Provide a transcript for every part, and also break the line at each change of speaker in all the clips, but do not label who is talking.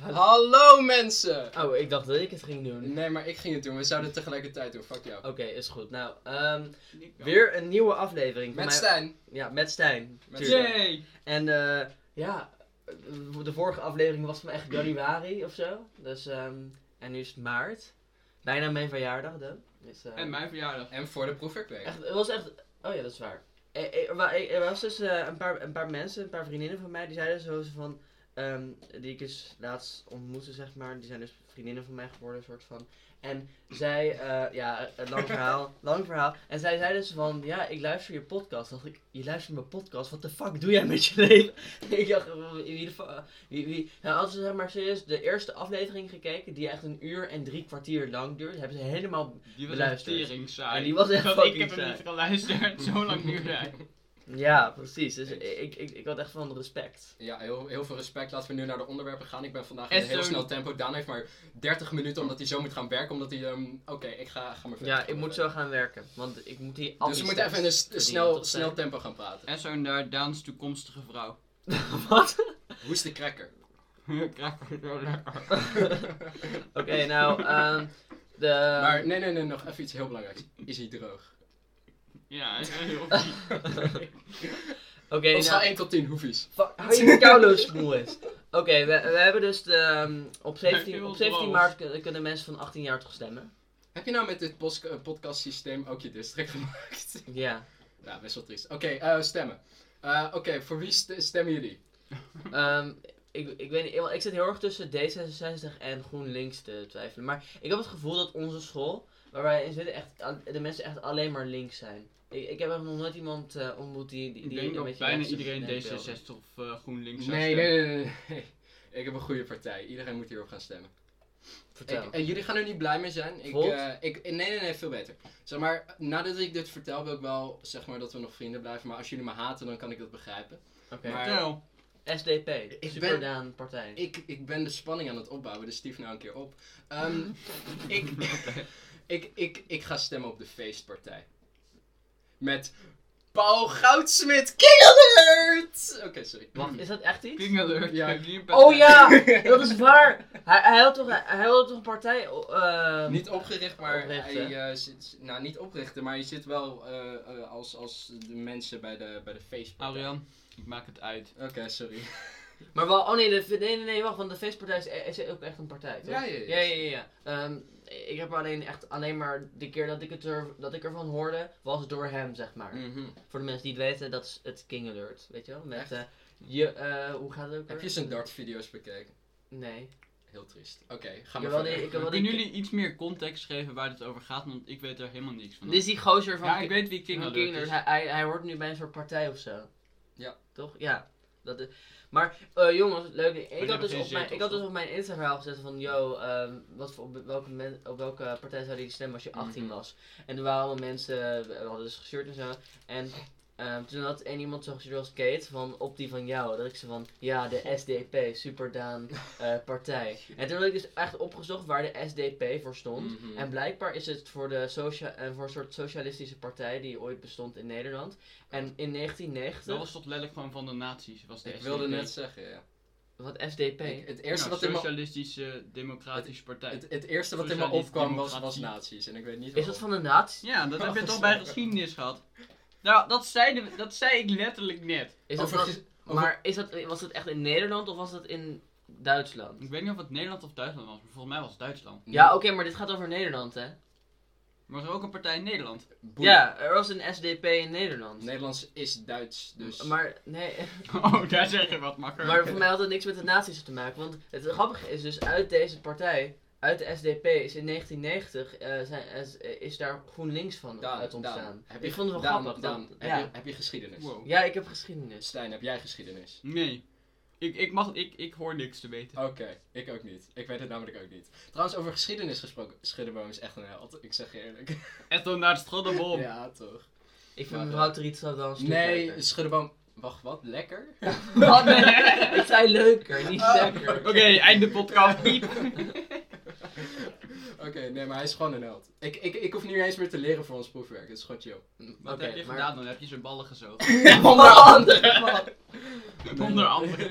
Hallo mensen!
Oh, ik dacht dat ik het ging doen.
Nee, maar ik ging het doen. We zouden het tegelijkertijd doen. Fuck jou.
Oké, is goed. Nou, ehm, weer een nieuwe aflevering.
Met
van mij-
Stijn.
Ja, met Stijn.
Met
tuurlijk.
Stijn.
Yay!
En eh, ja, eh, de vorige aflevering was van echt januari of zo. Dus, ehm, en nu is het maart. Bijna mijn verjaardag dan. Dus, eh,
En mijn verjaardag.
En voor de proefwerkweek.
Echt, het was echt. Oh ja, dat is waar. Er, er, wa- er was dus eh, een, paar, een paar mensen, een paar vriendinnen van mij, die zeiden zo ze van. ehm, die ik dus laatst ontmoette, zeg maar. Die zijn dus vriendinnen van mij geworden, soort van. En zij, eh, ja, een lang verhaal, lang verhaal. En zij zeiden dus van, ja, ik luister je podcast. Dacht ik, je luistert mijn podcast, wat de fuck doe jij met je leven? ik dacht, "Oh, wie de fu- wie, wie, nou, als ze zeg maar serieus de eerste aflevering gekeken, die echt een uur en drie kwartier lang duurde, hebben ze helemaal
Die was echt
Beluisterd.
tering saai.
En die was echt
Want
fucking
Ik heb hem
saai.
niet geluisterd, zo lang duurde hij.
Ja, precies. Dus ik, ik, ik had echt van respect.
Ja, heel, heel veel respect. Laten we nu naar de onderwerpen gaan. Ik ben vandaag in
En
een heel
zo'n-
snel tempo. Daan heeft maar 30 minuten omdat hij zo moet gaan werken. Omdat hij... ehm, Oké, ik ga, ga maar verder.
Ja, ik moet zo gaan werken. Want ik moet hier al
Dus we
die
moeten
stats
even in een s-
verdienen
snel,
tot zijn-
snel tempo gaan praten.
En zo'n daar Daans toekomstige vrouw.
Wat?
Hoe is de cracker?
Krijg ik zo lekker.
Oké, nou, ehm, de...
Maar nee, nee, nee. Nog even iets heel belangrijks. Is hij droog?
Ja, hij is wel heel vies.
Oké,
Op schaal
nou...
1 tot 10 hoefies.
Fuck, hou je koude smoes. Oké, we, we hebben dus de... ehm, op
Ik
17,
wil
op 17
droog.
maart kun- kunnen mensen van 18 jaar toch stemmen?
Heb je nou met dit pos- eh, podcast systeem ook je district gemaakt?
Ja.
Ja, best wel triest. Oké, eh, stemmen. Eh, Oké, voor wie st- stemmen jullie?
Ehm, ik, ik weet niet, ik zit heel erg tussen D66 en GroenLinks te twijfelen. Maar ik heb het gevoel dat onze school, waar wij in zitten, echt, al- de mensen echt alleen maar links zijn. Ik, ik heb echt nog nooit iemand eh, ontmoet die, die,
Ik
die
denk dat
beetje
bijna
rechts is,
iedereen
denk ik wel.
D66 of eh, GroenLinks zou
Nee, nee, nee,
stemmen.
nee, nee. Ik heb een goede partij. Iedereen moet hierop gaan stemmen.
Vertel.
Ik- en jullie gaan er niet blij mee zijn. Ik,
Volt?
eh, ik, nee, nee, nee, veel beter. Zeg maar, nadat ik dit vertel, wil ik wel zeg maar dat we nog vrienden blijven. Maar als jullie me haten, dan kan ik dat begrijpen.
Oké.
maar-
Vertel.
SDP,
ben-
Superdaan partij.
Ik, ik ben de spanning aan het opbouwen, dus stief nou een keer op. Ehm, ik, ik, ik, ik ga stemmen op de feestpartij. Met Paul Goudsmit, King Alert! Oké, sorry.
Wacht, is dat echt iets?
King alert.
Ja.
ik heb niet een
Oh
partij.
ja, dat is waar. Hij, hij had toch, hij, hij had toch een partij... ehm,
Niet opgericht, maar
Oprichten.
hij eh, zit, nou niet oprichten, maar je zit wel eh, eh, als, als de mensen bij de, bij de feestpartij.
Arjan, ik maak het uit.
Oké, sorry.
Maar wel, oh nee, de, nee, nee, nee, wacht, want de feestpartij is, e- is ook echt een partij, toch?
Ja, ja, ja.
ja. ja, ja. Ehm, ik heb alleen echt, alleen maar de keer dat ik, het er, dat ik ervan hoorde, was het door hem, zeg maar.
Mhm.
Voor de mensen die het weten, dat is het King Alert, weet je wel? Met,
Echt?
eh, je, eh, hoe gaat het ook
Heb je
weer?
zijn dartvideo's bekeken?
Nee.
Heel triest. Oké, ga maar
Jawel,
verder.
nee, ik heb wel
Kunnen
die...
jullie iets meer context geven waar het over gaat? Want ik weet er helemaal niks
Mm.
van.
Dit is die gozer van
ja,
Ki-
ik weet wie King
van
Alert
King Alert.
is.
Hij, hij, hij hoort nu bij een soort partij of zo.
Ja.
Toch? Ja. Dat is... Maar eh, jongens, leuk. Ik had,
hebben
dus
geen
op mijn,
zetel
ik had
of zo.
dus op mijn Instagram gezet van, yo, ehm, wat voor, op, welke men- op welke partij zou je stemmen als je 18
Mhm.
was? En er waren allemaal mensen, we hadden dus gestuurd en zo. En ehm, toen had één iemand zo gestuurd als Kate, van, op die van jou. Dat ik ze van, ja, de SDP, Superdaan eh, partij. En toen had ik dus echt opgezocht waar de SDP voor stond.
Mhm.
En blijkbaar is het voor, de socia- eh, voor een soort socialistische partij die ooit bestond in Nederland. En in
Dat
1990,
was toch letterlijk gewoon van de nazi's? Was de
Ik wilde
SDP.
net zeggen, ja.
wat SDP.
Ik- het eerste
Ja,
Nou,
wat in me
Nou, Socialistische Democratische Partij.
Het, het eerste wat in me opkwam was, was nazi's en ik weet niet
Is dat van de nazi?
Ja, dat
Oh,
heb je toch bij geschiedenis gehad? Nou, dat, zeiden we- dat zei ik letterlijk net.
Is dat
Over
van-
ge- over-
maar is dat, was dat echt in Nederland of was dat in Duitsland?
Ik weet niet of het Nederland of Duitsland was, maar volgens mij was het Duitsland.
Ja, oké, maar dit gaat over Nederland, hè?
Maar er was ook een partij in Nederland.
Boeien.
Ja, er was een SDP in Nederland.
Nederlands is Duits, dus...
Maar, nee,
Oh, daar zeg je wat makker.
maar voor mij had het niks met de nazi's te maken. Want het grappige is dus, uit deze partij, uit de SDP, is in 1990 eh, zijn, is- is daar GroenLinks van
Daan,
uit
Daan,
ontstaan.
heb
ik vond het wel
Daan,
grappig.
Daan,
dat-
heb,
ja.
je, heb je geschiedenis?
Wow.
Ja, ik heb geschiedenis.
Stijn, heb jij geschiedenis?
Nee. Ik, ik, mag, ik, ik hoor niks te weten.
Oké, ik ook niet. Ik weet het namelijk ook niet. Trouwens, over geschiedenis gesproken, Schiedeboom is echt een held. Ik zeg je eerlijk.
En toen naar Stroddenbom.
Ja, toch?
Ik
Maar,
vind mevrouw Teritstra wel een stuk
Nee,
leuker.
Schiedeboom... Wacht, wat? Lekker?
Wat? Nee, ik zei leuker, niet
Oh.
lekker.
Oké, einde podcast. Piep.
Oké, nee, maar hij is gewoon een held. Ik, ik, ik hoef nu eens meer te leren voor ons proefwerk. Het is gewoon chill.
Wat
Oké,
heb je
maar-
gedaan dan? Heb je zijn ballen gezogen?
Onder andere.
Onder andere.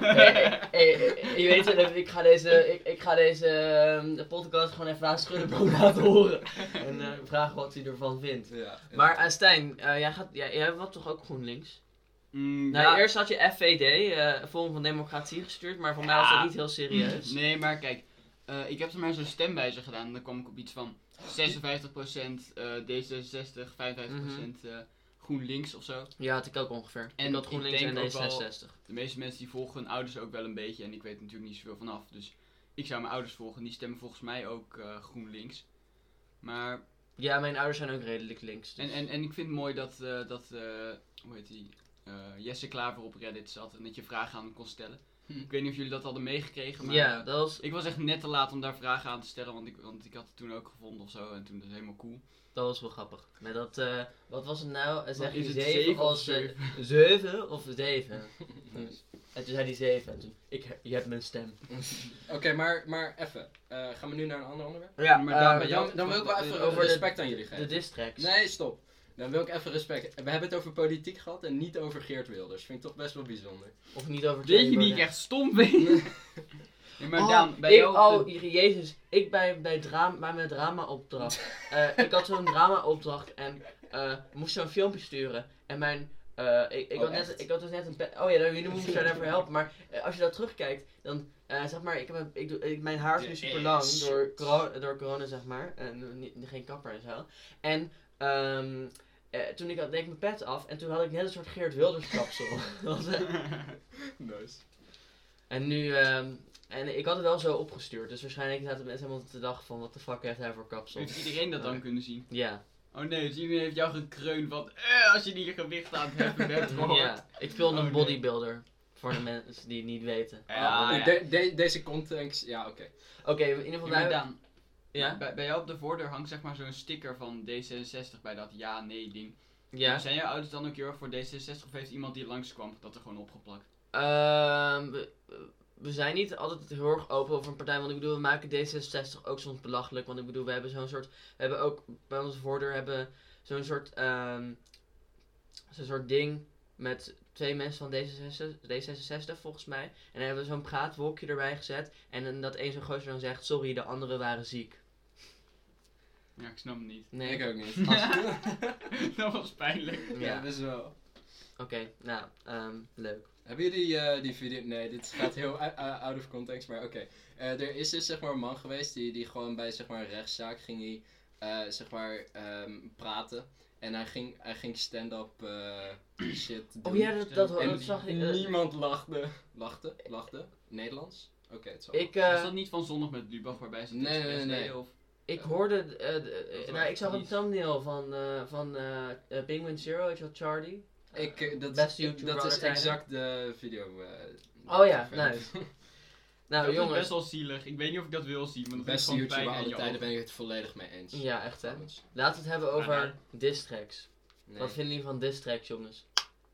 Hey, hey, hey, je weet het, ik ga deze, ik, ik ga deze ehm, podcast gewoon even aan Schuddenbroek laten horen. En eh, vragen wat hij ervan vindt.
Ja,
Maar eh, Stijn, eh, jij, gaat, jij, jij was toch ook GroenLinks?
Mm,
Nou,
ja.
eerst had je FVD, eh, Forum van Democratie, gestuurd, maar voor mij was
Ja.
dat niet heel serieus.
Nee, maar kijk. eh, ik heb toen maar zo'n stemwijzer gedaan. En dan kwam ik op iets van 56% eh, D66, 55%
Mhm.
eh, GroenLinks of zo.
Ja, had ik ook ongeveer.
En
En dat
ik
GroenLinks en
denk ook wel-
D66.
De meeste mensen die volgen hun ouders ook wel een beetje. En ik weet er natuurlijk niet zoveel vanaf. Dus ik zou mijn ouders volgen. Die stemmen volgens mij ook eh, GroenLinks. Maar,
Ja, mijn ouders zijn ook redelijk links. Dus.
en, en, en ik vind het mooi dat, eh, dat eh, hoe heet die, eh, Jesse Klaver op Reddit zat. En dat je vragen aan hem kon stellen.
Hm.
Ik weet niet of jullie dat hadden meegekregen. Maar
ja,
eh,
dat was,
ik was echt net te laat om daar vragen aan te stellen. Want ik, want ik had het toen ook gevonden of zo. En toen dat is helemaal cool.
dat was wel grappig. Met dat, eh, wat was het nou? Eh, Zeg
Is
je
het
7
zeven of
of 7 of 7?
Nice.
En toen zei hij 7. En toen, ik, he- je hebt mijn stem.
Oké, maar, maar even. Eh, gaan we nu naar een ander onderwerp?
Ja,
maar
eh,
daar ben je-
Dan, dan wil ik wel even over
Over de-
respect aan jullie
de
geven.
distracts.
Nee, stop. Dan wil ik even respect. We hebben het over politiek gehad en niet over Geert Wilders. Vind ik toch best wel bijzonder.
Of niet over
Weet je
Tony
niet, ik
Burnett.
echt stom vind. Ja, maar
Oh,
Daan, bij
ik-
jou op de-
oh, jezus. Ik bij, bij, drama, bij mijn drama-opdracht. Eh, ik had zo'n drama-opdracht en eh, moest zo'n filmpje sturen. En mijn... eh, ik, ik,
Oh,
had
echt?
net, ik had dus net een... pe- Oh ja, dan- jullie moeten me daarvoor helpen. Maar eh, als je dat terugkijkt, dan... eh, zeg maar, ik heb een- ik doe, ik, mijn haar is nu
Dit
super lang
is-
door, coro- door corona, zeg maar. En eh, niet- geen kapper en zo. En ehm, eh, toen ik had, deed ik mijn pet af en toen had ik net een soort Geert Wilders kapsel. Dat was, eh,
Nice.
en nu, ehm, en ik had het wel zo opgestuurd, dus waarschijnlijk zaten mensen helemaal te dachten van, wat de fuck heeft hij voor kapsel?
Heeft iedereen dat dan kunnen zien?
Ja,
Oh nee, dus iedereen heeft jou gekreund van, eh, als je die gewicht aan het heffen bent, gehoord.
ja. Ik speel
Oh,
een
nee.
bodybuilder, voor de mensen die het niet weten.
Ja, ja.
Ah, De- de- deze context, ja, oké.
Oké, in ieder geval,
Ja, maar
wij-
Daan,
ja?
bij, bij jou op de voordeur hangt zeg maar zo'n sticker van D66 bij dat ja-nee ding.
Ja.
Zijn jouw ouders dan ook heel erg voor D66 of heeft iemand die langskwam dat er gewoon opgeplakt?
Ehm, we, we zijn niet altijd heel erg open over een partij, want ik bedoel, we maken D66 ook soms belachelijk, want ik bedoel, we hebben zo'n soort, we hebben ook bij onze voordeur hebben zo'n soort, ehm, zo'n soort ding met twee mensen van D66, D66 volgens mij, en daar hebben we zo'n praatwolkje erbij gezet, en dan dat een zo'n gozer dan zegt, sorry, de anderen waren ziek.
Ja, ik snap het niet.
Nee,
Ik ook niet.
dat was pijnlijk.
Ja,
Ja.
dat is wel.
Oké, nou, ehm, leuk.
Hebben jullie eh, die video... Nee, dit gaat heel u- uh, out of context, maar oké. Eh, er is dus zeg maar een man geweest die, die gewoon bij zeg maar, een rechtszaak ging hij, eh, zeg maar, ehm, praten. En hij ging, hij ging stand-up eh, shit doen.
Oh ja, dat, dat, dat,
En
zag ik. eh,
Niemand lachte. Lachte? Lachte? Nederlands? Oké, het zal wel.
ik, eh,
Is dat niet van zondag met Lubach waarbij ze
Nee,
het expres
nee, nee.
deden, Of...
Ik
Ja.
hoorde, eh, de- eh,
was
nou, ik zag een
niet-
thumbnail van, eh, van eh, eh, Penguin Zero, weet je wel, Charlie?
Ik, eh, dat,
Beste
ik- dat
YouTuber
is
aller tijden.
exact de video. eh,
Oh ja,
verder.
nice.
Nou,
Nou,
jongens. best
jongens.
wel zielig. Ik weet niet of ik dat wil zien, want dat is
Beste
gewoon
YouTuber
pijn aan
aller
je
tijden
ogen.
ben ik het volledig mee eens.
Ja, echt hè.
Trouwens.
Laten we het hebben
Maar
over distracks.
Nee,
Wat vinden jullie van distracks, jongens?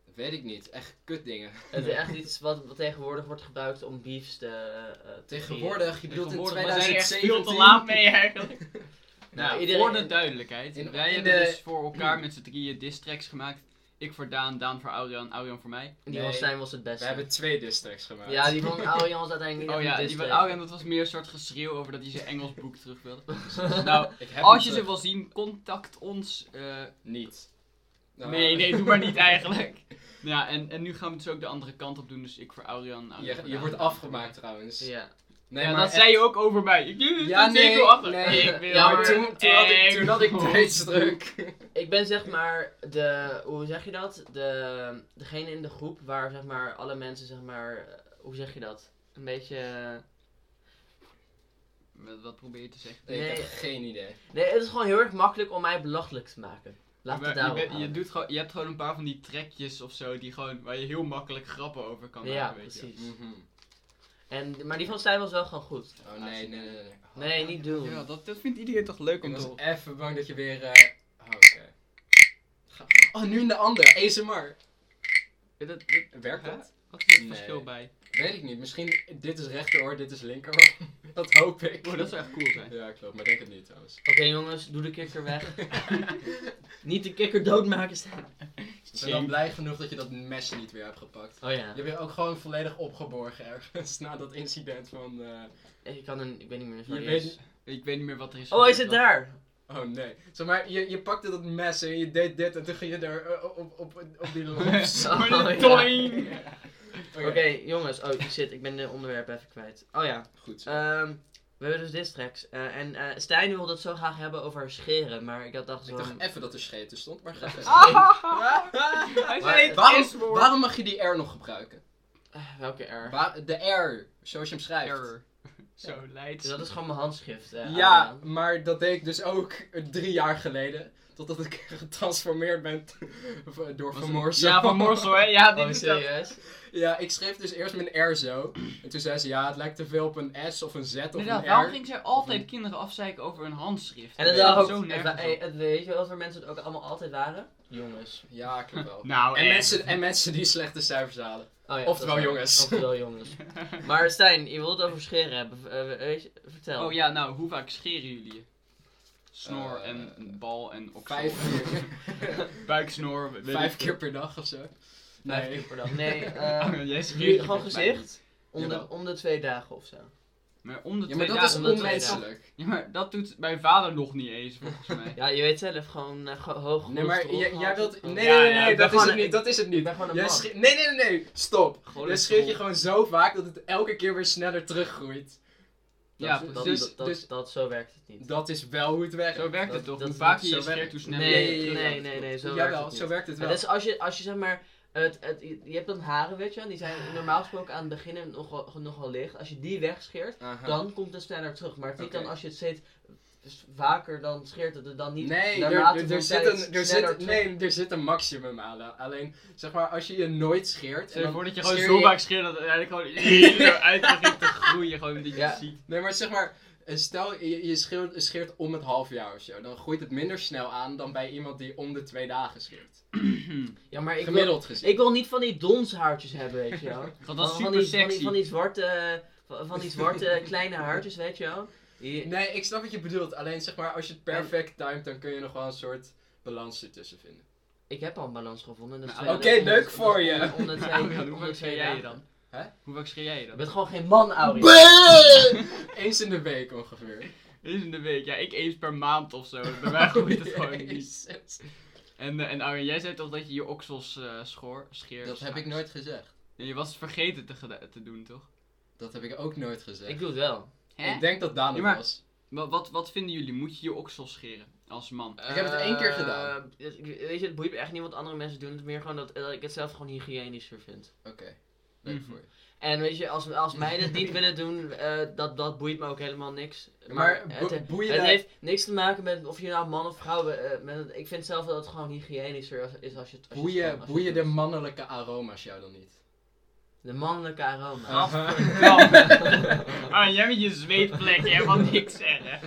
dat weet ik niet. Echt kutdingen.
Het is echt iets wat, wat tegenwoordig wordt gebruikt om beefs te... eh, eh, te creëren.
Tegenwoordig, je bedoelt in
Tegenwoordig, maar zijn er echt
2017.
veel te laat mee eigenlijk.
Nou,
Nou,
iedereen-
voor de duidelijkheid.
in-
wij
in
hebben
de-
dus voor elkaar met z'n drieën distracks gemaakt. Ik voor Daan, Daan voor Aurian, Aurian voor mij.
Die
Nee.
van Stijn was het
We
beste.
hebben twee districts gemaakt.
Ja, die van Arjan was uiteindelijk niet
Oh ja,
echt een
die van
distrack.
Aurian dat was meer een soort geschreeuw over dat hij zijn Engels boek terug wilde. Nou,
Ik heb
als
hem
je ze
terug.
wil zien, contact ons. eh,
Niet. Nou,
nee, nee, doe maar niet eigenlijk. Ja, en, en nu gaan we dus ook de andere kant op doen. Dus ik voor Aurian, Aurian
Je,
voor
je
Daan.
wordt afgemaakt trouwens.
Ja.
Nee,
ja,
maar
dat
echt-
zei je ook over mij. Ik doe
Ja,
ja,
nee,
nee, achter.
nee.
Ik wil Oh.
Ja,
Maar
maar-
toen, toen had ik, toen had ik
Engels.
tweedsdruk.
Ik ben zeg maar de, hoe zeg je dat? De, degene in de groep waar zeg maar alle mensen zeg maar, eh, hoe zeg je dat? Een beetje... eh,
Wat, wat probeer je te zeggen?
Nee, ik
Nee.
heb geen idee.
Nee, het is gewoon heel erg makkelijk om mij belachelijk te maken. Laat
Maar
het
je
daarop
bent- je,
houden.
doet gewoon, je hebt gewoon een paar van die trekjes of zo die gewoon, waar je heel makkelijk grappen over kan maken.
Ja,
weet je.
precies.
Mhm.
En, maar die van Stijn was wel gewoon goed.
Oh nee, nee, nee. nee.
Nee, niet doen.
Ja, dat, dat vindt iedereen toch leuk
Ik
om te
was
horen.
even bang dat je weer. eh, Oh, oké. Ga- Oh, nu in de ander. ASMR.
Ja, dat- dat-
Werkt
Hè?
dat?
Wat is het
Nee.
verschil bij?
Weet ik niet. Misschien dit is rechteroor, dit is linkeroor. Dat hoop ik.
Oh, dat zou echt cool zijn.
Ja, klopt. Maar denk het niet trouwens.
Oké jongens, doe de kikker weg. Niet de kikker doodmaken staan.
Ik ben dan blij genoeg dat je dat mes niet weer hebt gepakt.
Oh ja.
Je hebt je ook gewoon volledig opgeborgen ergens na dat incident van... eh,
Ik kan een, ik weet niet meer
je
waar die
weet-
is.
Ik weet niet meer wat er is.
Oh, hij
gebeurd,
zit
maar-
daar.
Oh nee. Zeg maar, je, je pakte dat mes en je deed dit en toen ging je er eh, op, op, op die los.
Oh, ja.
Toing!
Oké jongens, oh shit, ik ben de onderwerp even kwijt. Oh ja.
Goed zo.
Ehm, we hebben dus distracts. Eh en eh Stijn wilde het zo graag hebben over scheren, maar ik had dacht zo.
ik dacht even dat er scheten stond, maar ga verder.
Hij
Maar-
zei Ah, het
waarom,
S-woord.
waarom mag je die R nog gebruiken?
Eh, welke R?
Waar- de R, zoals je hem schrijft.
Error. Zo leidt.
Dus dat is gewoon mijn handschrift. eh,
Ja,
Adriaan.
maar dat deed ik dus ook eh, drie jaar geleden. Totdat ik getransformeerd ben door
Was
Van
een-
Morsel.
Ja, van Morsel, hè? Ja, dit
Oh,
is dat.
serieus?
Ja, ik schreef dus eerst mijn R zo. En toen zei ze, ja, het lijkt te veel op een S of een Z of
Inderdaad,
een
waarom
R.
ging zij altijd kinderen afzeiken over hun handschrift?
En
dat
het
dat
Nee,
wel
is
ook.
zo
het wa-
nergens.
eh,
op.
het- weet je wel dat we mensen het ook allemaal altijd waren? Jongens.
Ja, klopt wel.
Nou,
En
echt.
mensen, en mensen die slechte cijfers halen.
Oh, ja,
Oftewel
dat is waar.
jongens.
Oftewel jongens. Maar Stijn, je wilde het over scheren hebben. V- eh, weet je- vertel.
Oh ja, nou, hoe vaak scheren jullie je? Snor
Eh,
en een bal en oksel.
Vijf keer,
Buiksnor. weet
vijf
ik
keer per dag of zo.
Vijf
Nee.
keer per dag. Nee,
veel.
eh
Oh, jij schreeuwt
nu gewoon
volgens mij niet.
gezicht. Om de,
Jawel.
om de twee dagen of zo.
Maar om de
Ja,
twee
maar dat
dagen.
is
om de twee
onmenselijk.
Ja, maar dat doet mijn vader nog niet eens, volgens mij.
Ja, je weet zelf, gewoon eh, go- hoog
Nee, maar
cholesterol
jij- jij
gehad.
wilt... Nee,
Gewoon-
nee,
Ja,
nee,
ja,
nee,
ik ben
dat is
gewoon
het
een-
niet, dat is het
Ik
niet.
ben gewoon een
Jij
man.
schreeuwt- Nee, nee, nee, nee, stop.
Gewoon
Jij
een
scheert je
school.
gewoon zo vaak dat het elke keer weer sneller teruggroeit.
Ja,
dat,
dus-
dat, dat,
dus-
dat- zo werkt het niet.
Dat is wel hoe het werkt.
Zo werkt
Dat-
het toch?
dat-
Hoe vaker
zo
je
werkt-
scheert, hoe sneller
Nee,
je
nee,
terug-
nee, nee, nee, zo werkt
Jawel,
het niet.
zo werkt het wel.
Het is als je, als je zeg maar, het, het, je hebt dan haren, weet je wel, die zijn normaal gesproken aan het begin nogal, nogal licht. Als je die wegscheert,
Aha.
dan komt het sneller terug. Maar het is niet
Oké.
dan als je het steeds s- vaker, dan scheert het er dan niet.
Nee, er,
naarmate
er-
van
er, zit
tijd
een, er,
sneller
zit,
terug.
nee er zit een maximum aan. Alleen, zeg maar, als je je nooit scheert... en
Stel je
dan
voor dat je gewoon
scheer
zo
je-
vaak scheert dat het eigenlijk gewoon zo uit begint te groeien. Gewoon dat je
Ja.
het ziet.
Nee, maar zeg maar, eh, stel je, je scheert, scheert om het half jaar of zo. Dan groeit het minder snel aan dan bij iemand die om de twee dagen scheert.
Ja, maar ik wil,
Gemiddeld gezien.
ik wil niet van die donshaartjes hebben, weet je wel.
Want dat
van,
is super
die, Van die,
sexy.
van die zwarte, eh, van, van die zwarte kleine haartjes, weet je wel. Die-
Nee, ik snap wat je bedoelt. Alleen zeg maar, als je het perfect timet, dan kun je nog wel een soort balans ertussen vinden.
Ik heb al een balans gevonden. dat is
Nou,
twee-
oké,
om de-
leuk
om de-
voor je.
om de- om de twee-
Adriaan,
om
hoe
de twee
vaak scheer jij je
dagen.
dan?
Hè?
Hoe vaak scheer jij je
Je
dan?
bent gewoon geen man, Auri.
Eens in de week ongeveer.
Eens in de week. Ja, ik eens per maand of zo. Bij mij groeit het gewoon niet.
Oh, Jezus.
En, eh, en Arjen, jij zei toch dat je je oksels eh, schoor, scheert?
Dat heb ik nooit gezegd.
Ja, je was het vergeten te, geda- te doen, toch?
Dat heb ik ook nooit gezegd.
Ik
Ik,
doe het wel.
Hè?
denk dat Daan
Ja,
het
maar-
was.
Wa- wat, wat vinden jullie? Moet je je oksels scheren als man?
Ik heb het één keer
Eh,
gedaan.
het- ik- weet je, het boeit me echt niet wat andere mensen doen. Het is meer gewoon dat, dat ik het zelf gewoon hygiënischer vind.
Oké. Leuk
Mhm.
voor je.
En weet je, als, als meiden het niet willen doen, eh, dat, dat boeit me ook helemaal niks.
Maar,
het,
bo-
het
boeien daar-
heeft niks te maken met of je nou man of vrouw bent. eh, met het- ik vind zelf dat het gewoon hygiënischer is als, is als je het als je het gewoon-
boeien,
als je
boeien
het
de
doet.
mannelijke aroma's jou dan niet.
de mannelijke aroma.
Arjen, Ah, jij met je zweetplek, jij mag niks zeggen.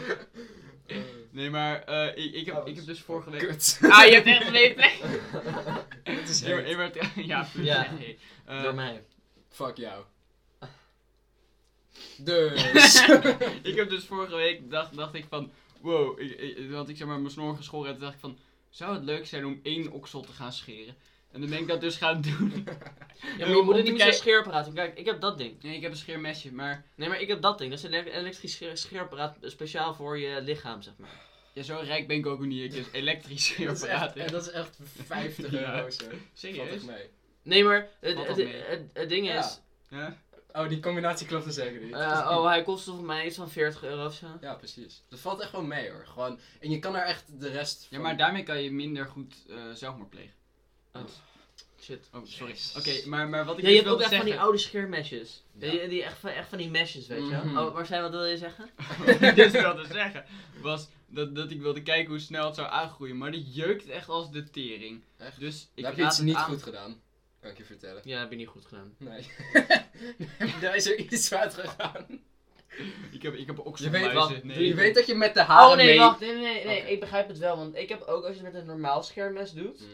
Nee, maar eh, ik, ik, heb, ik heb dus vorige week...
Kut.
Ah, je hebt echt een zweetplek!
Het is
Nee, maar-
heet.
nee, maar het- ja, precies,
Ja.
echt heet. Eh,
Door mij.
Fuck jou. Dus.
ik heb dus vorige week, dacht, dacht ik van, wow, ik, ik, want ik zeg maar mijn snor geschoren en toen dacht ik van, zou het leuk zijn om één oksel te gaan scheren? En dan ben ik dat dus gaan doen.
Ja, maar je
Om
moet
te
het niet met zo'n
kijken-
scheerapparaat doen. Kijk, ik heb dat ding.
Nee, ik heb een scheermesje, maar
Nee, maar ik heb dat ding. Dat is een ele- elektrisch sche- scheerapparaat speciaal voor je lichaam, zeg maar.
ja, zo rijk ben ik ook niet. Ik heb elektrisch
dat, is echt,
scheerapparaat.
en dat is echt 50
Ja.
euro zo. Valt
Serieus?
echt mee.
Nee, maar het,
Valt
het,
dat mee?
het, het ding
Ja.
is...
Ja?
Oh, die combinatie klopt er zeker niet.
eh, oh, hij kost volgens mij iets van 40 euro of zo.
Ja, precies. Dat valt echt wel mee hoor. Gewoon, en je kan er echt de rest
ja, maar daarmee kan je minder goed eh zelfmoord plegen.
Oh, shit.
Oh, sorry.
Jezus.
Oké, maar, maar wat ik
Ja, je
dus
hebt ook
wilde
echt van die
zeggen...
oude scheermesjes.
Ja.
Die, die echt, van, echt van die mesjes, weet je wel.
Mhm.
Oh, maar zijn wat wil je zeggen?
Wat ik dus wilde zeggen, was dat, dat ik wilde kijken hoe snel het zou aangroeien. Maar dat jeukt echt als de tering.
Echt?
Dus ik
Daar heb je
raad
iets
het
niet
aan-
goed gedaan. Kan ik je vertellen.
Ja, heb je niet goed gedaan.
Nee. daar is er iets fout gegaan.
Ik heb, ik heb ook
Je weet,
muizen.
je
Nee.
weet dat je met de haren
Oh nee,
mee...
wacht. Nee, nee, nee. nee,
Oké.
Ik begrijp het wel. Want ik heb ook, als je het met een normaal scheermes doet...
Mhm.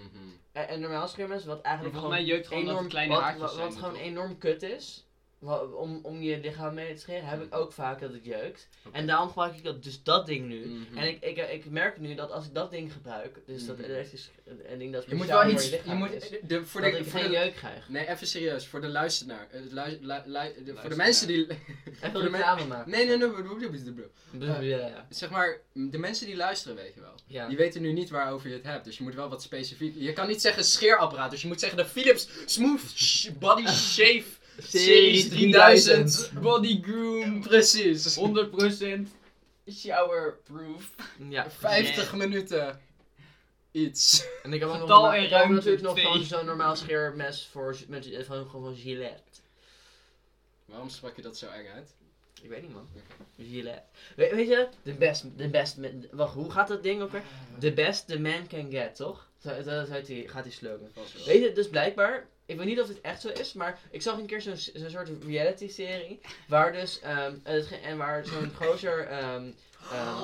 eh, Een normaal scheermes, wat
Maar
eigenlijk
volgens
gewoon...
mij jeukt gewoon dat het kleine
wat,
haartjes
wat,
zijn.
wat gewoon
toch?
enorm kut is. wa- om, om je lichaam mee te scheren, heb ik ook vaak dat het jeukt.
Oké.
En daarom gebruik ik dat, dus dat ding nu.
Mhm.
En ik, ik, ik merk nu dat als ik dat ding gebruik, dus dat
Mhm.
elektrisch een ding dat
Je moet
speciaal
wel
voor
iets.
je
Je
lichaam
moet,
is,
de, voor
dat
de,
ik
voor
geen
de-
jeuk krijg.
nee, even serieus. Voor de luisteraar. eh, lui- lui- lui- de- Voor de
Luisteraar.
mensen die. voor
Even
de men-
reclame maken.
Nee, nee, nee. bro, bro, bro, bro.
Ja, ja.
Zeg maar, de mensen die luisteren, weet je wel.
ja.
Die weten nu niet waarover je het hebt, dus je moet wel wat specifiek. Je kan niet zeggen scheerapparaat, dus je moet zeggen de Philips Smooth Sh- Body Shave Series 3000
Body groom.
Precies.
100% showerproof.
Ja.
50 minuten iets.
En ik heb ook nog,
Getal
een-
en
ik heb ook
ruimte
natuurlijk nog
twee.
gewoon zo'n normaal scheermes voor met, van, gewoon van Gillette.
Waarom sprak je dat zo eng uit?
Ik weet niet man. Gillette. We- weet je, de best, de best, man- wacht, hoe gaat dat ding ook weer? The best the man can get, toch? Zo- Dat is uit die, gaat die slogan.
Vast wel.
Weet je, dus blijkbaar, ik weet niet of dit echt zo is, maar ik zag een keer zo'n zo'n soort reality-serie, waar dus, ehm, het ge- en waar zo'n gozer, ehm, ehm,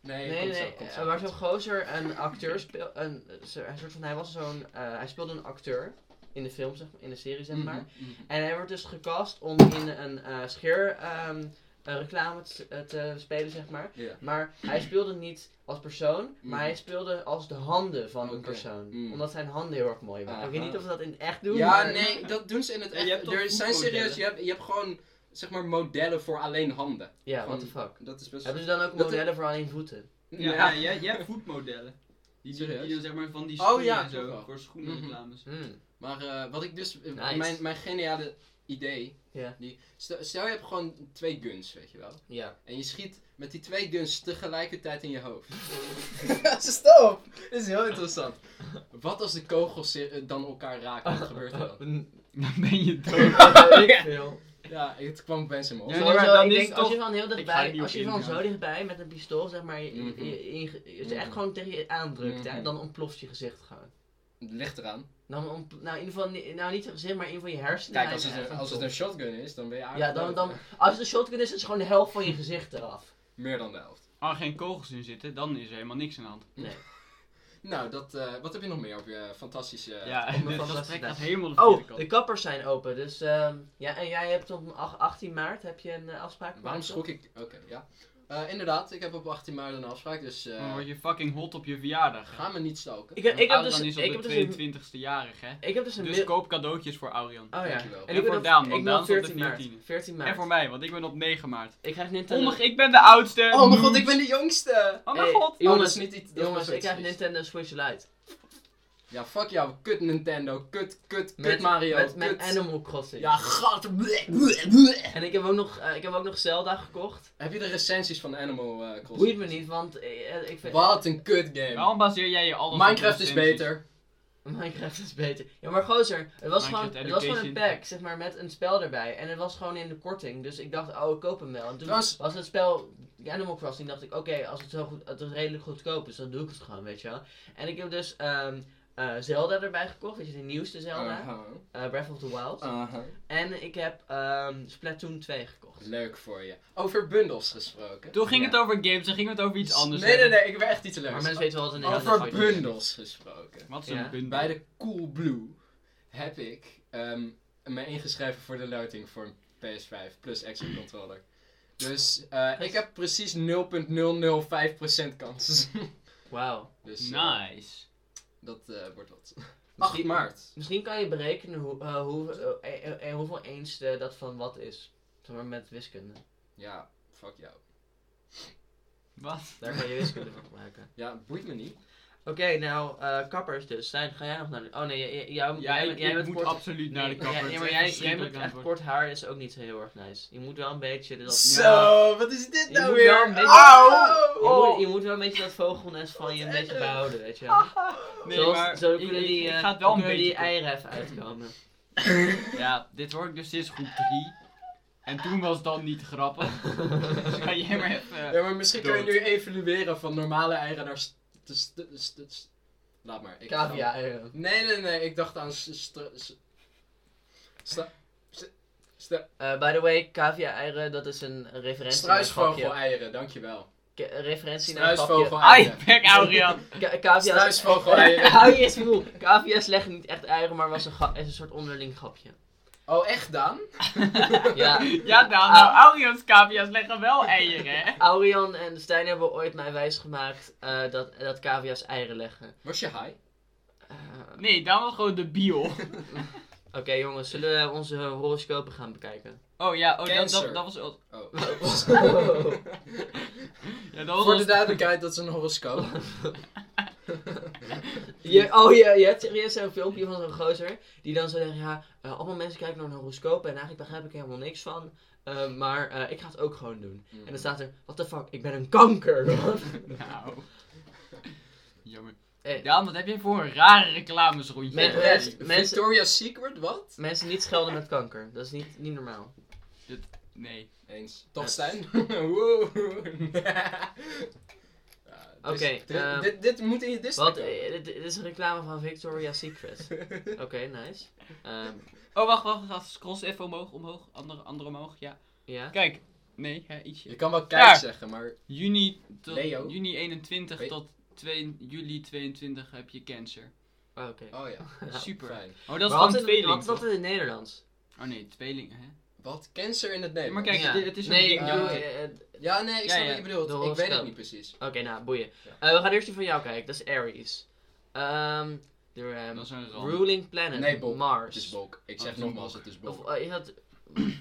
Nee,
nee,
komt zo,
nee,
komt
eh,
zo,
waar
komt
zo'n gozer een acteur speelde, een, zo- een soort van, hij was zo'n, eh, hij speelde een acteur in de film, zeg, in de serie,
zo.
zeg maar.
Mhm, mhm.
En hij wordt dus gecast om in een eh scheerreclame te, eh, te spelen, zeg maar.
Ja.
Maar hij speelde niet als persoon, maar hij speelde als de handen van een
Mhm. Oké.
persoon.
Mm.
Omdat zijn handen heel erg mooi waren. Ik weet
Aha.
niet of ze dat in het echt doen.
Ja,
maar-
nee, dat doen ze in het
En je hebt
echt.
toch
Er zijn serieus,
voetmodellen?
je hebt, je hebt gewoon zeg maar modellen voor alleen handen.
Ja,
Gewoon-
what the fuck.
Mhm. Dat is best.
Hebben ze dan ook
Dat-
modellen voor alleen voeten?
Ja, ja. jij, jij hebt voetmodellen. Die, die,
Serieus?
die dan zeg maar van die
Oh,
schoenen
ja,
en
toch
zo,
wel.
voor schoenenreclames.
Hmm.
Maar eh, wat ik dus, eh,
Nice.
mijn, mijn geniale idee,
Ja.
die, stel, stel je hebt gewoon twee guns, weet je wel.
Ja.
En je schiet met die twee guns tegelijkertijd in je hoofd. Stop! Dit is heel interessant. Wat als de kogels zi- eh, dan elkaar raken? Wat gebeurt er dan?
Dan ben je
Ik veel.
Ja, het kwam opeens in mijn
Ja,
hoofd.
nee, maar
Sowieso,
dan
ik
is
denk,
het
als
toch-
je van heel
ga er
dichtbij,
niet
als
op
je van
ingaan.
zo dichtbij met een pistool zeg maar, je, je-
Mhm.
je- je- je-
Mhm.
echt gewoon tegen je aandrukt, hè,
Mhm.
dan ontploft je gezicht gewoon.
Ligt eraan.
Nou, om, nou, in ieder geval, ni- nou niet het gezicht, maar in ieder geval je hersenen.
Kijk, als
zijn
het, een,
echt
als het een shotgun is, dan ben je
Ja,
aardig
dan,
dood.
dan, als het een shotgun is, is gewoon de helft van je gezicht eraf.
Meer dan de helft.
Als er geen kogels in zitten, dan is er helemaal niks aan de hand.
Nou, dat, eh, wat heb je nog meer op je fantastische...
ja,
om
dat
ervan
dat
vast te
trekt gaat
staan.
helemaal de verkeerde
Oh,
kant.
de kappers zijn open, dus ehm, ja, en jij hebt op ach- 18 maart heb je een eh, afspraak.
Waarom
gemaakt,
schrok ik... Oké, ja. Eh, inderdaad, ik heb op 18 maart een afspraak, dus eh,
Dan
Oh,
word je fucking hot op je verjaardag.
ga me niet stalken.
toch? Ik heb, ik heb dus,
Adrian is op
ik
de
heb dus een,
22 e jarig, hè?
ik heb dus een
Dus
mil-
koop cadeautjes voor Aurian.
Oh ja.
Dankjewel.
ik
En
ben
voor
op-
Daan, want
ik ben
Daan
op
is op de
14 maart.
14e.
14 maart.
En voor mij, want ik ben op 9 maart.
Oh Ik krijg Nintendo.
Onmig, ik ben de oudste!
Oh mijn god, ik ben de jongste!
Oh mijn
Hey,
god!
Jongens,
Jongens,
niet iets... dat is
Jongens,
best wel
ik krijg
triest.
Nintendo Switch Lite.
Ja, fuck jou, kut Nintendo, kut, kut, kut
Met-
Mario,
Met, met
kut...
Animal Crossing.
Ja, gat. Heb
En ik heb, ook nog, eh, ik heb ook nog Zelda gekocht.
je de recensies van Animal eh, Crossing?
Boeit me niet, want eh, ik vind...
Wat een kut game.
Waarom baseer jij je alles op
Minecraft is
recensies?
beter.
Minecraft is beter. Ja, maar gozer, het was,
Minecraft
gewoon, het was gewoon een
Education.
pack, zeg maar, met een spel erbij. En het was gewoon in de korting, dus ik dacht, oh, ik koop hem wel. En toen
Trouwens-
was het spel Animal Crossing, dacht ik, oké, als het zo goed, het is redelijk goedkoop is, dan doe ik het gewoon, weet je wel. En ik heb dus ehm, eh, Zelda erbij gekocht, weet je, de nieuwste Zelda,
Aha,
eh, Breath of the Wild.
aha.
En ik heb ehm, Splatoon 2 gekocht.
Leuk voor je. Over bundles gesproken.
Toen ging
Ja.
het over games, dan ging het over iets anders.
Nee, nee,
hebben.
nee, ik wil echt iets
Maar
leuks.
mensen weten wel wat een
Over
Nintendo is.
bundles gesproken.
Wat is een
Ja.
bundel?
Bij de Cool Blue heb ik ehm, me ingeschreven voor de loting voor een PS5 plus extra controller. Dus eh, ik heb precies 0.005% kans.
Wauw.
dus eh,
Nice.
dat eh, wordt wat. 8
Misschien-
maart.
Misschien kan je berekenen hoe, eh, hoe, eh, eh, eh, hoeveel eens eh, dat van wat is. Zeg maar met wiskunde.
Ja, fuck jou.
Wat?
Daar kan je wiskunde van gebruiken.
Ja, boeit me niet.
Oké, nou, eh, kappers dus. Stijn, ga jij nog naar de... Oh nee, jij, jij, jij,
Ja,
jij,
ik,
jij
ik
bent
moet
kort...
absoluut naar de
Nee,
kapper.
ja,
Het
Ja,
is
maar
echt
jij, jij
verschrikkelijk
bent echt
aan het worden.
kort haar is ook niet zo heel erg nice. Je moet wel een beetje dat...
Zo, wat is dit
Je
nou
moet wel
weer?
een beetje-
Au!
Je, moet, je moet wel een beetje dat vogelnest van je een beetje behouden, weet je wel.
Ah. Nee,
Zoals-
maar
zo
ik-
kunnen
ik-
die,
ik
eh,
ga het wel een
kunnen die
beetje kort.
eieren even uitkomen.
Ja, dit hoor ik dus sinds groep 3. En toen was het dan niet grappig. Dus ga jij maar even...
Ja, maar misschien kun je
Dood.
nu evalueren van normale eieren naar... st- st- st- st- Laat maar. ik-
Cavia-eieren.
Nee, nee, nee, ik dacht aan... st- st- st- st- st- st-
Eh, by the way, cavia-eieren, dat is een referentie naar
Struisvogel-eieren, dankjewel.
een grapje. Ke- Een referentie naar een grapje.
Ai,
Struisvogel-eieren.
pek Aurian!
Ka- Cavia's.
Struisvogel-eieren.
Hou je eens moe. Cavia's leggen niet echt eieren, maar was een, ga- is een soort onderling grapje.
Oh, echt Daan?
Ja.
Ja, Daan, nou, Aurion's cavia's leggen wel eieren, hè?
Aurian en Stijn hebben ooit mij wijsgemaakt eh dat, dat cavia's eieren leggen.
Was je high?
Eh,
Nee, Daan wil gewoon de bio.
Oké jongens, zullen we onze horoscopen gaan bekijken?
Oh ja, oh, dat,
Cancer.
dat, dat was... wel-
Oh.
Ja, dat was
Voor
wel-
de duidelijkheid, dat is een horoscoop.
Je, oh, je, je hebt serieus zo'n filmpje van zo'n gozer. Die dan zo zegt, ja, eh, allemaal mensen kijken naar een horoscoop. En eigenlijk begrijp ik er helemaal niks van. Eh, maar eh, ik ga het ook gewoon doen.
Hmm.
En dan staat er, what the fuck, ik ben een kanker. man."
Nou. Jammer.
Eh,
Daan, wat heb jij voor een rare reclamesrondje?
Met
Ja,
rest.
nee.
mensen-
Victoria's Secret, wat?
Mensen niet schelden met kanker. Dat is niet, niet normaal.
Nee.
Eens. Toch,
Ja.
Stijn? Wow. Ja, dit is-
Oké,
dit-
ehm,
dit, dit moet in je disc.
Wat, eh, dit, dit is een reclame van Victoria's Secret. Oké, nice. Ehm,
Oh, wacht, wacht, wacht. Scroll even omhoog, omhoog. Andere, andere omhoog, ja.
ja.
Kijk. Nee, hè, ietsje.
Je kan wel kijk
Daar.
zeggen, maar
Juni, tot,
Leo.
juni 21
Weet-
tot 2, juli 22 heb je cancer.
Oh, Oké.
Oh ja,
Super.
fijn.
Oh, dat is
Maar wat
gewoon
is-
tweeling.
Wat is
toch?
dat in het Nederlands?
Oh nee, tweeling, hè?
Wat? Cancer in het Nederlands?
Maar kijk,
Ja.
dit- het is een
nee,
ding,
ik
joh.
bedoel, eh, eh,
Ja, nee, ik
Ja,
snap
ja.
wat je bedoelt.
De
Ik weet
horoscoop.
het niet precies.
Oké, nou, boeien.
Ja.
Eh, we gaan eerst die van jou kijken. Dat is Aries. Ehm, de ehm,
Dat is een ramp.
ruling planet,
Nee, Bob. Het is
Mars.
Bok. Ik
Oh,
zeg
het is
nogmaals,
Bok.
het is Bok.
Of, eh, is dat...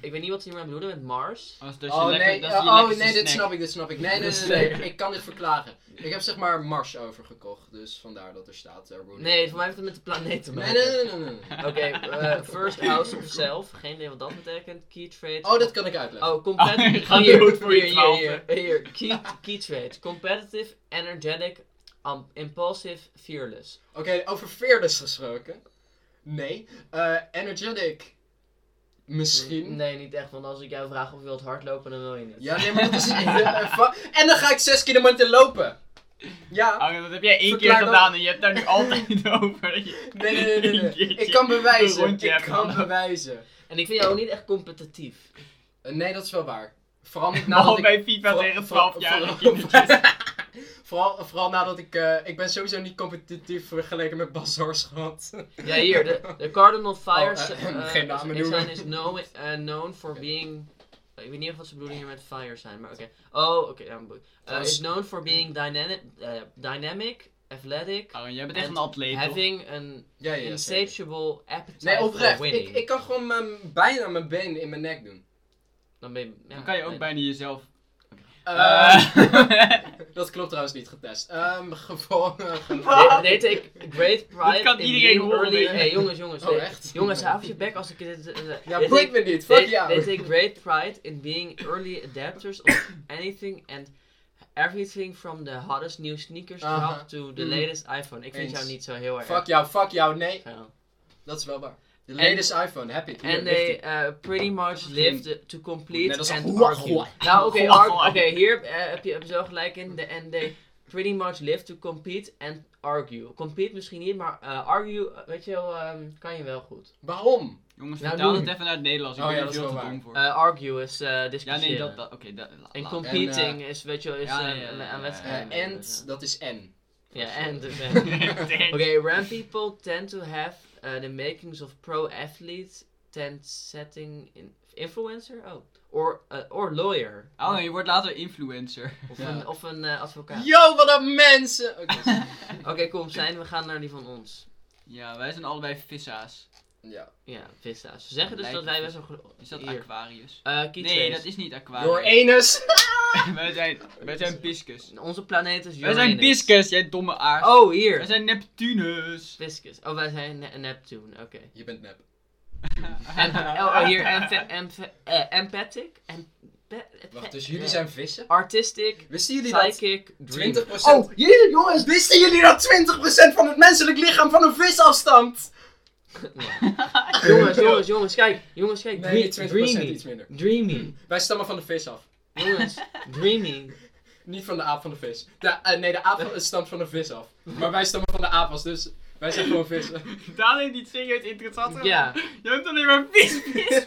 ik weet niet wat ze hiermee bedoelen met Mars.
Oh, dat is je
oh
lekker-
nee,
dat is je
oh,
lekkerste
nee dit
snack.
snap ik, dit snap ik. Nee, nee, nee, nee, ik kan dit verklagen. Ik heb zeg maar Mars overgekocht, dus vandaar dat er staat eh, Rooney.
Nee, voor mij heeft het met de planeet te
Nee,
maken.
nee, nee, nee, nee, nee.
Oké, eh, first house of self. Geen idee wat dat betekent. Key trade.
Oh, dat kan ik uitleggen.
Oh, competitive.
Oh, gaat dood voor je
hier, hier,
twaalfde.
hier, hier. Key, key trade. Competitive, energetic, um, impulsive, fearless.
Oké, over fearless gesproken. Nee. Eh, energetic. Misschien.
Nee, niet echt. Want als ik jou vraag of je wilt hardlopen, dan wil je niet.
Ja, nee, maar dat is... en dan ga ik zes kilometer lopen. Ja.
Oh, dat heb jij één
Verklaar
keer
dat-
gedaan en je hebt daar nu altijd over.
Nee, nee, nee, nee.
Eén
nee.
keertje
Ik kan
een
bewijzen.
rondje
Ik
hebben
kan
gelopen.
bewijzen.
En ik vind jou ook niet echt competitief.
Eh, Nee, dat is wel waar. Vooral niet
Nou,
nadat
Al
ik...
bij FIFA
vooral-
tegen
vooral-
12-jarige
vooral-
kindertjes.
Vooral, vooral nadat ik... eh, ik ben sowieso niet competitief vergeleken met Bas Horschot.
Ja, hier, de, de Cardinal Fires
Oh, eh,
eh,
geen namen
is-
noemen.
zijn is known, eh, known for being... Ik weet niet of wat ze bedoelen hier met fire zijn, maar oké. Oh, oké, ja, boe- Eh,
Als-
Is known for being dynamic, eh, dynamic athletic,
Ah,
Oh, jij bent echt
En
een atleet, toch?
having an
Ja, ja, ja. zeker.
insatiable appetite
Nee, oprecht.
for
Ik,
winning.
ik kan gewoon mijn, bijna mijn benen in mijn nek doen.
Dan, ben je, ja,
Dan kan je ook
nee.
bijna jezelf...
Eh,
Eh,
dat klopt trouwens niet getest. Ehm gewoon... eh, gewoon-
De- Deed ik great pride
kan
in
iedereen
being
horen,
early...
weet je.
Hey, jongens, jongens.
Oh,
deed-
echt?
Jongens, hou even je bek als ik dit... eh,
Ja,
deed
boeit
ik-
me niet. Fuck
They,
jou.
they take great pride in being early adapters of anything and everything from the hottest new sneakers drop
Aha.
to the
Mm.
latest iPhone. Ik vind
Eens.
jou niet zo heel erg.
Fuck jou, fuck jou. Nee,
Zo.
dat is wel waar. De
En-
latest iPhone, heb ik. Hier,
And
ligt ie.
they uh, pretty much lived to complete
Net als een
and
goeie-
argue.
goeie.
Nou, oké,
Goeie-
arg-
goeie.
oké, hier eh, heb je, heb je zo gelijk in. The, and they pretty much lived to compete and argue. Compete misschien niet, maar eh, argue, eh, weet je wel, ehm, kan je wel goed.
Waarom?
Jongens,
Nou,
vertaal
doe.
het even naar het Nederlands. Ik
Oh,
ben
ja,
er
dat is
veel
wel
te
waar.
dom voor.
Eh, argue is eh,
Ja,
discussiëren.
nee, dat... dat- Oké, dat... la-
En
laat.
competing is, weet je wel, is
Ja,
eh,
ja, ja,
een-
ja,
een
ja.
wedstrijd.
Eh, and, dat is N.
Ja, and dus, eh.
Thanks.
Okay, RAM people tend to have uh, the makings of pro athletes, tend setting in influencer, oh, or uh, or lawyer,
Oh, je wordt later influencer.
of
Ja.
een, of een eh, advocaat.
Yo, wat een mensen! Oké.
Oké, kom, zijn we gaan naar die van ons.
Ja, wij zijn allebei vissa's.
ja.
Ja, vissa's. Ze zeggen dus
Lijkt
dat wij
me
best wel goed.
Is dat
Hier.
Aquarius?
Eh, key
Nee,
traits.
dat is niet
Door
Aquarius.
Enes!
wij zijn, wij zijn Piscus.
Onze planeet is
Wij
Uranus.
zijn Piscus, jij domme aard.
Oh,
Wij
hier.
zijn Neptunus.
Viscus. Oh, wij zijn ne Neptune, oké.
Je bent nep.
En- oh, oh, hier, emph- emph- eh, empathic? Empa-
Wacht, dus jullie zijn vissen?
Artistic,
Wisten jullie dat
psychic,
20%...
dreamer.
Oh, jullie, jongens, wisten jullie dat 20% van het menselijk lichaam van een vis afstamt?
jongens, jongens, jongens, kijk. Jongens, kijk.
Nee,
Dre-
20%
dreamy.
iets minder. Hmm.
Dreamy.
Wij stammen van de vis af.
Jongens, dreamy.
Niet van de aap van de vis. De, eh, nee, de aap van- stamt van de vis af. Maar wij stammen van de aap af, dus wij zijn gewoon vissen.
Daan heeft niet serieus interessant
Ja.
Je hebt alleen maar vis, vis, vis.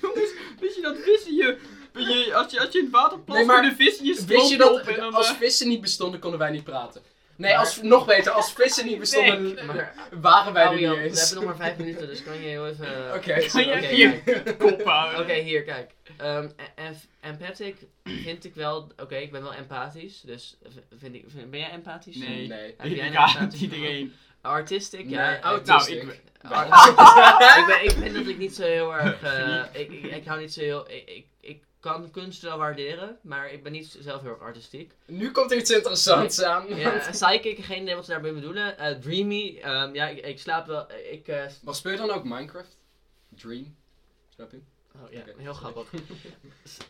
Jongens, wist je dat vissen je... je- als, je als je in het water plast,
Nee, maar
kunnen vissen je
Wist je
stroop op en
dat
dan...
als
eh,
vissen niet bestonden, konden wij niet praten? Nee, als, nog beter, als vissen niet bestonden,
Maar,
waren wij er niet
Arjan, we
eens.
hebben nog maar vijf minuten, dus kan je heel even...
Oké,
Kan jij
Oké,
hier kop houden?
Oké, hier, kijk. Ehm, en- en- empathic vind ik wel... Oké, ik ben wel empathisch, dus v- vind ik, vind- ben jij empathisch?
Nee.
Nee.
Heb jij
Ik
nou
haat
status-
iedereen.
Artistic?
Nee, dus
ja.
Nou,
autistisch.
ik-
Ar-
Oh.
ik, ben, ik vind dat ik niet zo heel erg. eh, ik, ik, ik hou niet zo heel. Ik, ik, ik kan kunst wel waarderen, maar ik ben niet zelf heel erg artistiek.
Nu komt er iets interessants aan.
Ja, en psychic, geen idee wat ze daarmee bedoelen. Eh, dreamy, ehm, ja, ik, ik slaap wel. Ik, eh, s-
Maar speel je dan ook Minecraft? Dream? Snap je?
oh, ja,
Oké,
heel
sorry.
grappig.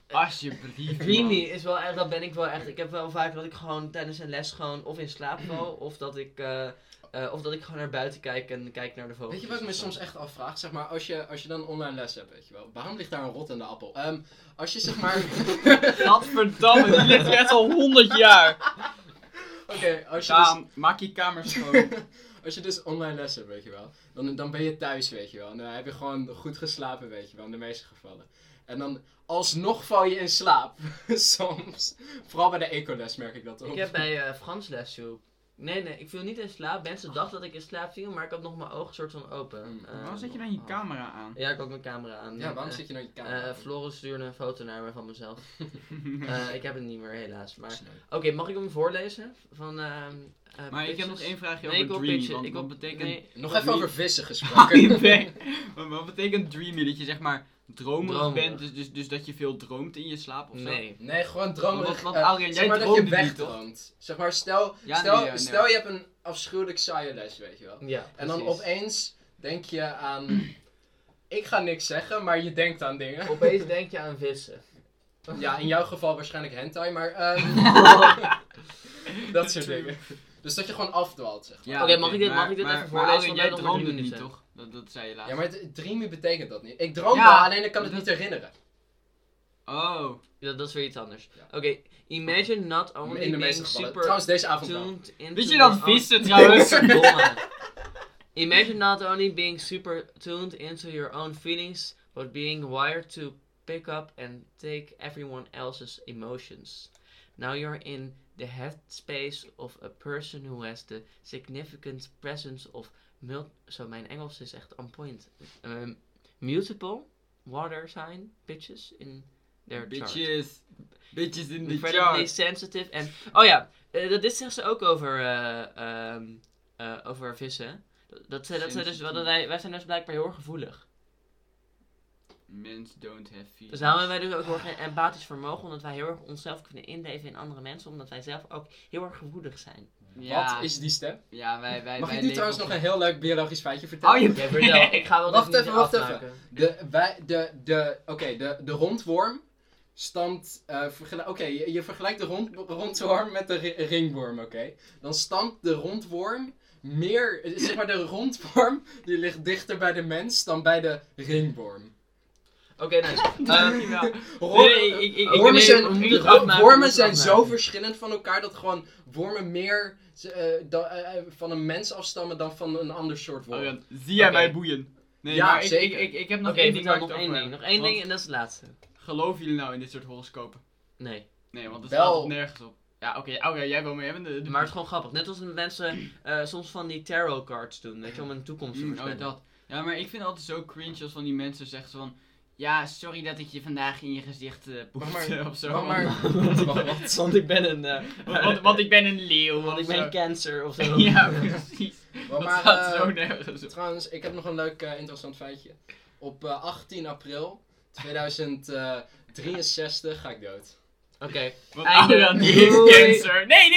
Eh, Alsjeblieft. man.
Dreamy is wel echt, dat ben ik wel echt. Ik heb wel vaak dat ik gewoon tijdens een les gewoon of in slaap val, of dat ik, eh, eh, of dat ik gewoon naar buiten kijk en kijk naar de vogels. Dus
Weet je wat ik me soms echt afvraag? Zeg maar, als je, als je dan online les hebt, weet je wel. Waarom ligt daar een rot in de appel? Ehm, als je zeg maar... Oké,
Gadverdamme, die ligt er echt al 100 jaar.
als je dus...
Daan, maak je kamer
Eh,
schoon.
Als je dus online les hebt, weet je wel, dan, dan ben je thuis, weet je wel. En dan heb je gewoon goed geslapen, weet je wel, in de meeste gevallen. En dan alsnog val je in slaap, soms. Vooral bij de ecoles merk ik dat ook.
Ik heb bij eh, Frans les, joh. Nee, nee, ik viel niet in slaap. Mensen dachten dat ik in slaap viel, maar ik had nog mijn ogen soort van open.
Mm.
Eh,
Waarom zet je dan je
oh.
camera aan?
Ja, ik had mijn camera aan.
Ja, waarom
Eh,
zit je nou in je
eh,
kamer?
Floris stuurde een foto naar me van mezelf. Eh, ik heb het niet meer, helaas. Maar...
Sneu.
Oké, mag ik hem voorlezen? Van, ehm, eh,
Maar ik heb
pitches?
nog één vraagje
Nee, ik wil
over Dreamy.
pitchen.
Want
Ik
wat
wil-
betekent...
nee.
Nog
Wat
even
doe-
over vissen
Hou je
gesproken.
bek. Wat- Wat betekent dreamy? Dat je zeg maar dromerig,
Dromerig.
bent, dus, dus, dus dat je veel droomt in je slaap of zo?
Nee.
Nee, gewoon dromen.
Want- want
eh,
Adrien,
zeg
jij
maar dat je
droomde niet, toch?
wegdroomt. Zeg maar, stel,
Ja,
stel,
nee, ja, nee.
stel je hebt een afschuwelijk saaie les, weet je wel.
Ja,
En dan
precies.
opeens denk je aan... Ik ga niks zeggen, maar je denkt aan dingen.
Opeens denk je aan vissen.
Ja, in jouw geval waarschijnlijk hentai, maar ehm, dat soort dingen. Dus dat je gewoon afdwaalt, zeg maar.
Ja,
Oké, mag ik dit-
maar-
mag ik dit
maar-
even
maar
voorlezen?
Adrien,
Want wij
jij
dromen
droomde
niet,
niet,
hè?
toch? Dat, dat zei je laatst.
Ja, maar het- dreamy betekent dat niet. Ik droom
Ja.
wel, alleen ik kan het niet herinneren.
Oh,
Dat, dat is weer iets anders.
Ja.
Oké, imagine not only
In de meeste
being
gevallen.
super...
Trouwens, deze avond wel.
tuned into
Weet je dat
their own-
vissen trouwens?
Verdomme. Imagine not only being super tuned into your own feelings, but being wired to pick up and take everyone else's emotions. Now you're in the headspace of a person who has the significant presence of mul- zo mijn Engels is echt on point. Um, multiple water sign bitches in their chart.
bitches. Bitches in the
Incredibly
chart.
sensitive en... Oh ja, eh, dat, dit zegt ze ook over, eh, ehm, eh, over vissen. Dat- Dat, ze, dat, ze dus,
Sensitief.
dat wij, wij zijn dus blijkbaar heel erg gevoelig.
Mens don't have feelings.
Dus daarom hebben wij dus ook heel erg een empathisch vermogen, omdat wij heel erg onszelf kunnen inleven in andere mensen, omdat wij zelf ook heel erg gevoelig zijn.
Ja,
Wat is die stem?
ja, wij, wij,
Mag
wij
ik nu
leven
trouwens
op-
nog een heel leuk biologisch feitje vertellen?
Oh, je-
Oké, vertel. Ik ga wel
Wacht
dit niet
even, wacht even.
afmaken.
De, wij, de, de, oké, de, de rondworm stamt, eh, vergel- oké, je, je vergelijkt de rond, rondworm met de ri- ringworm, oké. Dan stamt de rondworm meer, eh, zeg maar de rondworm, die ligt dichter bij de mens dan bij de ringworm.
Oké, nice.
Dankjewel.
Ro-
Nee, ik- ik- ik-
wormen
nee,
zijn,
we moeten het
ro-
afmaken, we moeten
wormen
het
zijn zo
afmaken.
verschillend van elkaar dat gewoon wormen meer eh, da- eh, eh, van een mens afstammen dan van een ander soort worm.
Adrien, Oh, zie jij
Oké.
mij boeien? Nee,
Ja,
maar ik, ik,
zeker.
ik, ik heb nog
Oké, vertel
één ding waar ik
nog
het
één
over
ding.
heb.
Nog één
Want
ding en dat is het laatste.
Geloven jullie nou in dit soort horoscopen?
Nee.
Nee, want het
Wel.
staat toch nergens op. Ja, oké, oké, jij wil mee hebben. De, de-
Maar het is gewoon grappig. Net als mensen eh, soms van die tarot cards doen, weet je, om hun toekomst te
Mm, oh,
voorspellen.
dat. Ja, maar ik vind het altijd zo cringe als van die mensen zeggen zo van... Ja, sorry dat ik je vandaag in je gezicht eh poep
Wacht maar,
of zo.
wacht maar.
Want,
Wacht, wacht.
Want ik ben een... eh,
want- want- want ik ben een leeuw
Want
of
ik ben
zo.
cancer of zo.
Ja, precies.
Maar,
Dat
maar,
staat
eh,
zo nergens op.
Trouwens, ik heb nog een leuk eh, interessant feitje. Op eh, 18 april eh, 2063 ga ik dood.
Oké.
Want
einde.
Adrian, oh die heeft
Doei.
cancer. Nee, nee!